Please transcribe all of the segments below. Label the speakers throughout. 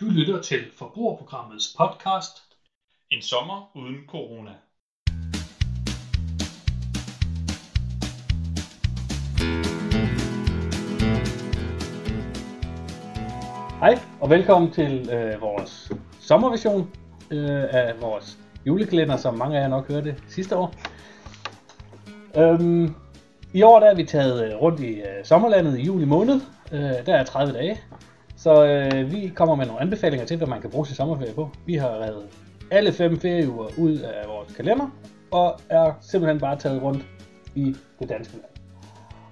Speaker 1: Du lytter til Forbrugerprogrammets podcast.
Speaker 2: En sommer uden corona.
Speaker 1: Hej og velkommen til øh, vores sommerversion øh, af vores julekalender, som mange af jer nok hørte sidste år. Øhm, I år der er vi taget øh, rundt i øh, sommerlandet i juli måned. Øh, der er 30 dage. Så øh, vi kommer med nogle anbefalinger til, hvad man kan bruge sin sommerferie på. Vi har reddet alle fem ferieuger ud af vores kalender, og er simpelthen bare taget rundt i det danske land.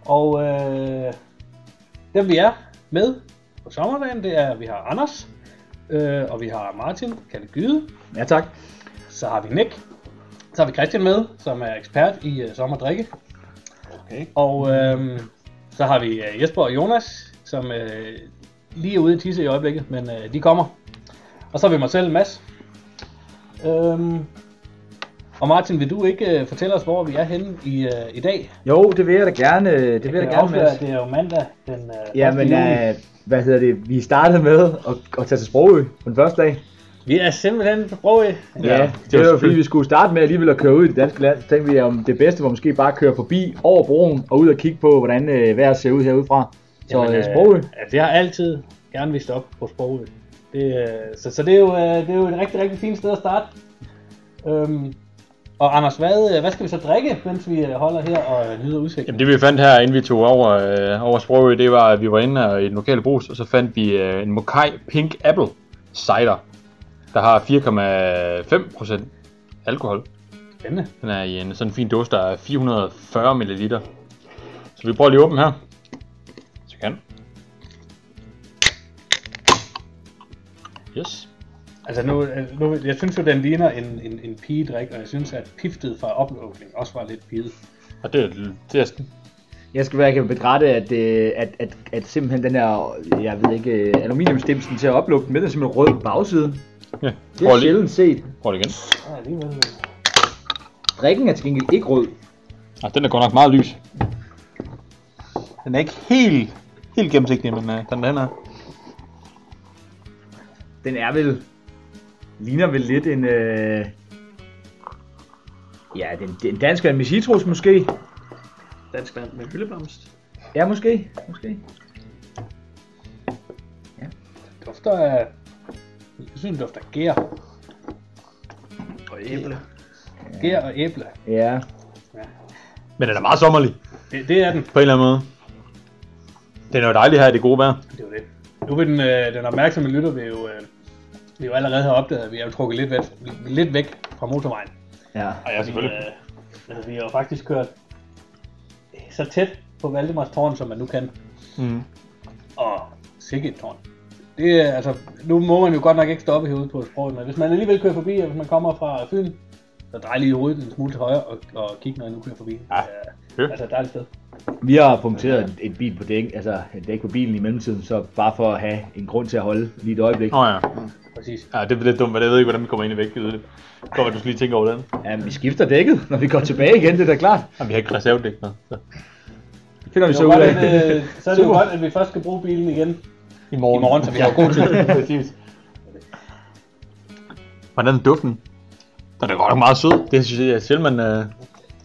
Speaker 1: Og øh, dem vi er med på sommerferien, det er, at vi har Anders, øh, og vi har Martin, Kalle Gyde,
Speaker 3: Ja tak.
Speaker 1: så har vi Nick, så har vi Christian med, som er ekspert i øh, sommerdrikke,
Speaker 3: Okay.
Speaker 1: og øh, så har vi øh, Jesper og Jonas, som øh, lige er ude i tisse i øjeblikket, men øh, de kommer. Og så har vi mig selv, Mads. Øhm, og Martin, vil du ikke øh, fortælle os, hvor vi er henne i, øh, i dag?
Speaker 3: Jo, det vil jeg da gerne. øh, Det vil jeg, da
Speaker 1: kan
Speaker 3: gerne,
Speaker 1: afsløre,
Speaker 3: Mads.
Speaker 1: at Det er jo mandag den øh,
Speaker 3: Ja,
Speaker 1: 1.
Speaker 3: men
Speaker 1: juli.
Speaker 3: øh, hvad hedder det? Vi startede med at, at tage til Sprogø på den første dag.
Speaker 1: Vi er simpelthen på Brogø.
Speaker 2: Ja, det
Speaker 3: det
Speaker 2: var
Speaker 3: var jo fordi,
Speaker 2: selvfølgelig-
Speaker 3: vi skulle starte med alligevel at køre ud i det danske land. Så tænkte vi, om det bedste var måske bare at køre forbi over broen og ud og kigge på, hvordan øh, vejret ser ud herudefra. Så
Speaker 1: Jamen,
Speaker 3: øh, Sprogø.
Speaker 1: Altså, jeg har altid gerne vist op på Sprogø. Det, øh, så, så det, er jo, øh, det er jo et rigtig, rigtig fint sted at starte. Øhm, og Anders, hvad, øh, hvad skal vi så drikke, mens vi øh, holder her og øh, nyder udsigten?
Speaker 4: Jamen det vi fandt her, inden vi tog over, øh, over Sprogø, det var, at vi var inde her i den lokale brus, og så fandt vi øh, en Mokai Pink Apple Cider, der har 4,5% alkohol.
Speaker 1: Spændende.
Speaker 4: Den er i en sådan fin dåse, der er 440 ml. Så vi prøver lige at åbne her. Så kan. Yes.
Speaker 1: Altså nu, øh, nu, jeg synes jo, den ligner en, en, en pigedrik, og jeg synes, at piftet fra oplukning også var lidt piget.
Speaker 4: Og det, er- det er
Speaker 3: Jeg skal være, jeg kan begræde, at, øh, at, at, at simpelthen den her, jeg ved ikke, øh, aluminiumsdimsen til at oplukke den med, den er simpelthen rød på bagsiden.
Speaker 4: ja.
Speaker 3: Det
Speaker 4: Prøv
Speaker 3: er
Speaker 4: lige.
Speaker 3: sjældent set.
Speaker 4: Prøv det igen.
Speaker 1: Ja, alligevel. øh.
Speaker 3: Drikken er til gengæld ikke rød.
Speaker 4: Ah, den er godt nok meget lys. Den er ikke helt, helt gennemsigtig, men øh, den, den er.
Speaker 3: den er vel... Ligner vel lidt en... Øh... Ja, den, den dansk vand med citrus måske.
Speaker 1: Dansk vand med hyldeblomst.
Speaker 3: Ja, måske. måske.
Speaker 1: Dufter af... Jeg synes, den dufter af gær. Og æble. Gær og æble.
Speaker 3: Ja.
Speaker 4: Men den er meget sommerlig,
Speaker 1: Det, det er den.
Speaker 4: på en eller anden måde. Den er jo dejlig her i det gode vejr.
Speaker 1: Det er jo det. Nu vil den, øh, den opmærksomme lytter vil jo, øh, vil jo allerede have opdaget, at vi er jo trukket lidt væk, lidt væk fra motorvejen.
Speaker 3: Ja.
Speaker 4: Og ja,
Speaker 1: Øh, altså, vi har jo faktisk kørt så tæt på Valdemars tårn, som man nu kan.
Speaker 4: Mm.
Speaker 1: Og sikke et tårn. Det er, altså, nu må man jo godt nok ikke stoppe herude på sproget, men hvis man alligevel kører forbi, og hvis man kommer fra Fyn, så drej lige hovedet en smule til højre og, og kig, når I nu kører forbi.
Speaker 4: Ja.
Speaker 1: Øh, altså et dejligt sted.
Speaker 3: Vi har punkteret et, et bil på dæk, altså et dæk på bilen i mellemtiden, så bare for at have en grund til at holde lige et øjeblik.
Speaker 4: Nå ja.
Speaker 1: Præcis.
Speaker 4: ja, det er lidt dumt, men jeg ved ikke, hvordan vi kommer ind i væk. Det går, at du skal lige tænke over den.
Speaker 3: Ja, men vi skifter dækket, når vi går tilbage igen, det er da klart.
Speaker 4: Og vi har ikke reservedæk med. Så.
Speaker 3: Det finder vi
Speaker 1: Det
Speaker 3: så
Speaker 1: er jo
Speaker 3: ud
Speaker 1: godt,
Speaker 3: af.
Speaker 1: at, øh, så er det jo godt, at vi først skal bruge bilen igen
Speaker 4: I morgen.
Speaker 1: I morgen, så vi har god tid.
Speaker 4: Præcis. Hvordan er duften? Den er godt nok meget sød. Det synes jeg, jeg selv, man... Øh...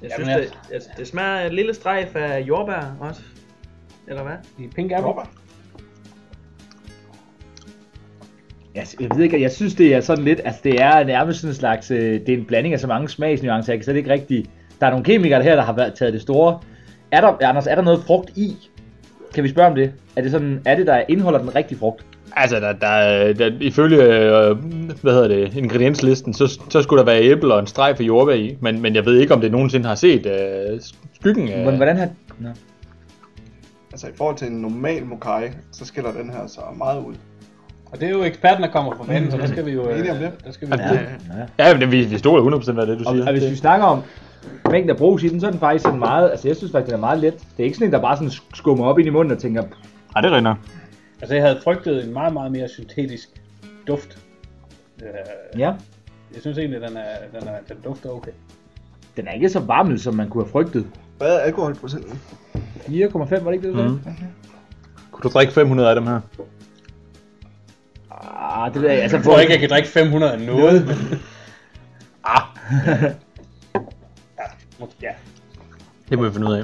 Speaker 5: Jeg
Speaker 1: Jamen,
Speaker 5: synes,
Speaker 1: altså-
Speaker 5: det, altså, det smager af et lille strejf af jordbær også. Eller hvad?
Speaker 1: i Pink Apple.
Speaker 3: Jeg, jeg ved ikke, jeg synes det er sådan lidt, altså det er nærmest sådan en slags, øh, det er en blanding af så mange smagsnuancer, jeg kan slet ikke rigtig, der er nogle kemikere her, der har været, taget det store. Er der, Anders, er der noget frugt i? Kan vi spørge om det? Er det sådan, er det der indeholder den rigtige frugt?
Speaker 4: Altså, der, der, er- der, ifølge øh, hvad hedder det, ingredienslisten, så, så skulle der være æble og en streg for jordbær i. Men, men jeg ved ikke, om det nogensinde har set øh, skyggen af...
Speaker 3: Hvordan, hvordan har... Nå.
Speaker 6: Altså i forhold til en normal mokai, så skiller den her så meget ud.
Speaker 1: Og det er jo eksperten, der kommer fra banen, så der skal vi jo...
Speaker 6: Er I enige om
Speaker 1: øh,
Speaker 6: det?
Speaker 1: Der skal vi
Speaker 4: Ja, Ja, men det- vi, vi stoler 100% af det, du
Speaker 3: Og,
Speaker 4: siger.
Speaker 3: og, hvis vi snakker om mængden af brugs i den, så er den faktisk sådan meget, altså jeg synes faktisk, den er meget let. Det er ikke sådan en, der bare sådan skummer op ind i munden og tænker,
Speaker 4: Ej, det er rigtigt nok.
Speaker 1: Altså, jeg havde frygtet en meget, meget mere syntetisk duft. Øh,
Speaker 3: ja,
Speaker 1: Jeg synes egentlig, den, er, den, er, den dufter okay.
Speaker 3: den er ikke så varmel, som man kunne have frygtet.
Speaker 6: Hvad er alkoholprocenten?
Speaker 3: 4,5 var det ikke det, du sagde?
Speaker 4: Mhm. Kunne du drikke 500 af dem her?
Speaker 3: Ah, det ved jeg, altså,
Speaker 1: Jeg tror ikke, jeg kan drikke 500 af noget.
Speaker 4: Ah,
Speaker 1: Ja.
Speaker 4: det må vi finde ud af.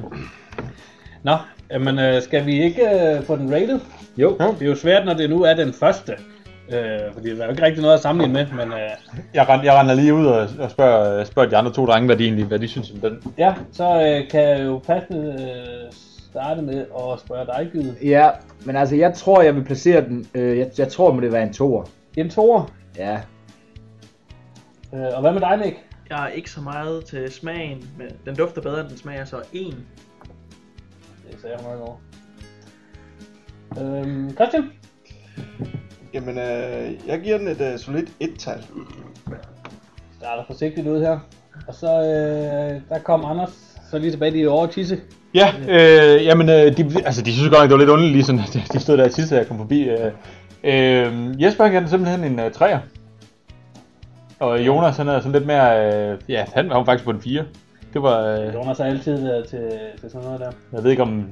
Speaker 1: Nå, men øh, skal vi ikke øh, få den rated?
Speaker 3: Jo.
Speaker 1: Det er jo svært, når det nu er den første. Øh, fordi der er jo ikke rigtig noget at sammenligne med, men øh,
Speaker 4: Jeg, rend, jeg render lige ud og, og spørger, øh, spørger de andre to drenge, hvad de egentlig hvad de synes om den.
Speaker 1: ja, så øh, kan jeg jo passende øh, starte med at spørge dig, Gide.
Speaker 3: Ja, men altså, jeg tror, jeg vil placere den. Øh, jeg, jeg tror, må det være en toer.
Speaker 1: En toer,
Speaker 3: Ja.
Speaker 1: øh, og hvad med dig, Nick?
Speaker 5: Jeg er ikke så meget til smagen, men den dufter bedre, end den smager, så en.
Speaker 1: Det sagde jeg meget over. Øhm, Christian?
Speaker 6: Jamen, øh, jeg giver den et øh, solidt et-tal.
Speaker 1: starter forsigtigt ud her. Og så øh, der kom Anders så lige tilbage lige over tisse.
Speaker 4: Ja, øh, jamen, øh, de, altså, de synes godt nok, det var lidt underligt, lige sådan, de, de stod der sidst, da jeg kom forbi. Øh, øh, Jesper han gav den simpelthen en øh, træer. Og Jonas, han er sådan lidt mere, øh, ja, han var jo faktisk på en 4. Det var, øh,
Speaker 1: Jonas er altid øh, til, til sådan noget der.
Speaker 4: jeg ved ikke om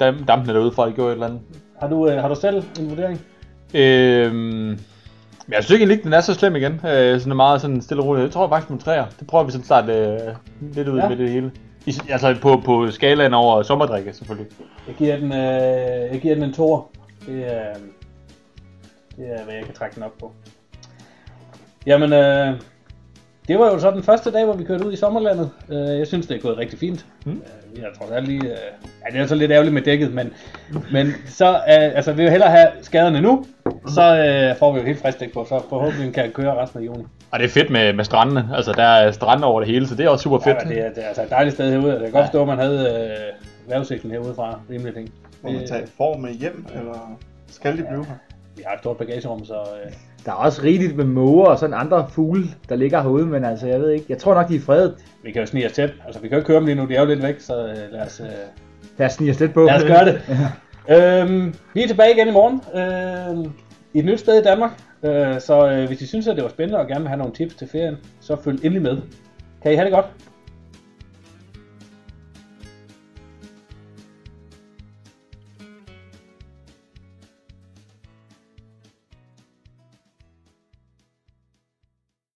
Speaker 4: dam, dampene derude fra, de gjorde et eller andet.
Speaker 1: Har du, øh, har du selv en vurdering?
Speaker 4: Øh, men jeg synes ikke, egentlig ikke, den er så slem igen. Øh, sådan er meget sådan stille og roligt. Jeg tror faktisk på en træer. Det prøver vi sådan snart øh, lidt ud
Speaker 1: Ja.
Speaker 4: ja. med det hele. I, altså på, på skalaen over sommerdrikke, selvfølgelig.
Speaker 1: Jeg giver den, øh, jeg giver den en tor. Det er, øhm, det er, hvad jeg kan trække den op på. Jamen, øh, det var jo så den første dag, hvor vi kørte ud i sommerlandet. Øh, jeg synes, det er gået rigtig fint. Mm. Øh, jeg tror alt lige... Øh, ja, det er så lidt ærgerligt med dækket, men, men så... Øh, altså, vi vil hellere have skaderne nu, så øh, får vi jo helt frisk dæk på, så forhåbentlig kan jeg køre resten af juni.
Speaker 4: Og det er fedt med, med strandene. Altså, der er strande over det hele, så det er også super
Speaker 1: Ja,
Speaker 4: fedt.
Speaker 1: men det, er, det er altså et dejligt sted herude, og jeg kan godt forstå, at man havde øh, vejrudsigten herude fra rimelig ting.
Speaker 6: Må man
Speaker 1: Øh.
Speaker 6: tage får med hjem, eller skal de blive her?
Speaker 1: Vi har et stort bagagerum, så... Øh,
Speaker 3: Der er også rigeligt med måger og sådan andre fugle, der ligger herude, men altså, jeg ved ikke. Jeg tror nok, de er fredet.
Speaker 1: Vi kan jo snige os tæt. Altså, vi kan jo ikke køre dem lige nu, de er jo lidt væk, så øh, lad, os, øh,
Speaker 3: Lad os snige os lidt på.
Speaker 1: lad os gøre det. øhm, vi er tilbage igen i morgen øhm, i et nyt sted i Danmark. Øh, så øh, hvis I synes, at det var spændende og gerne vil have nogle tips til ferien, så følg endelig med. Kan I have det godt?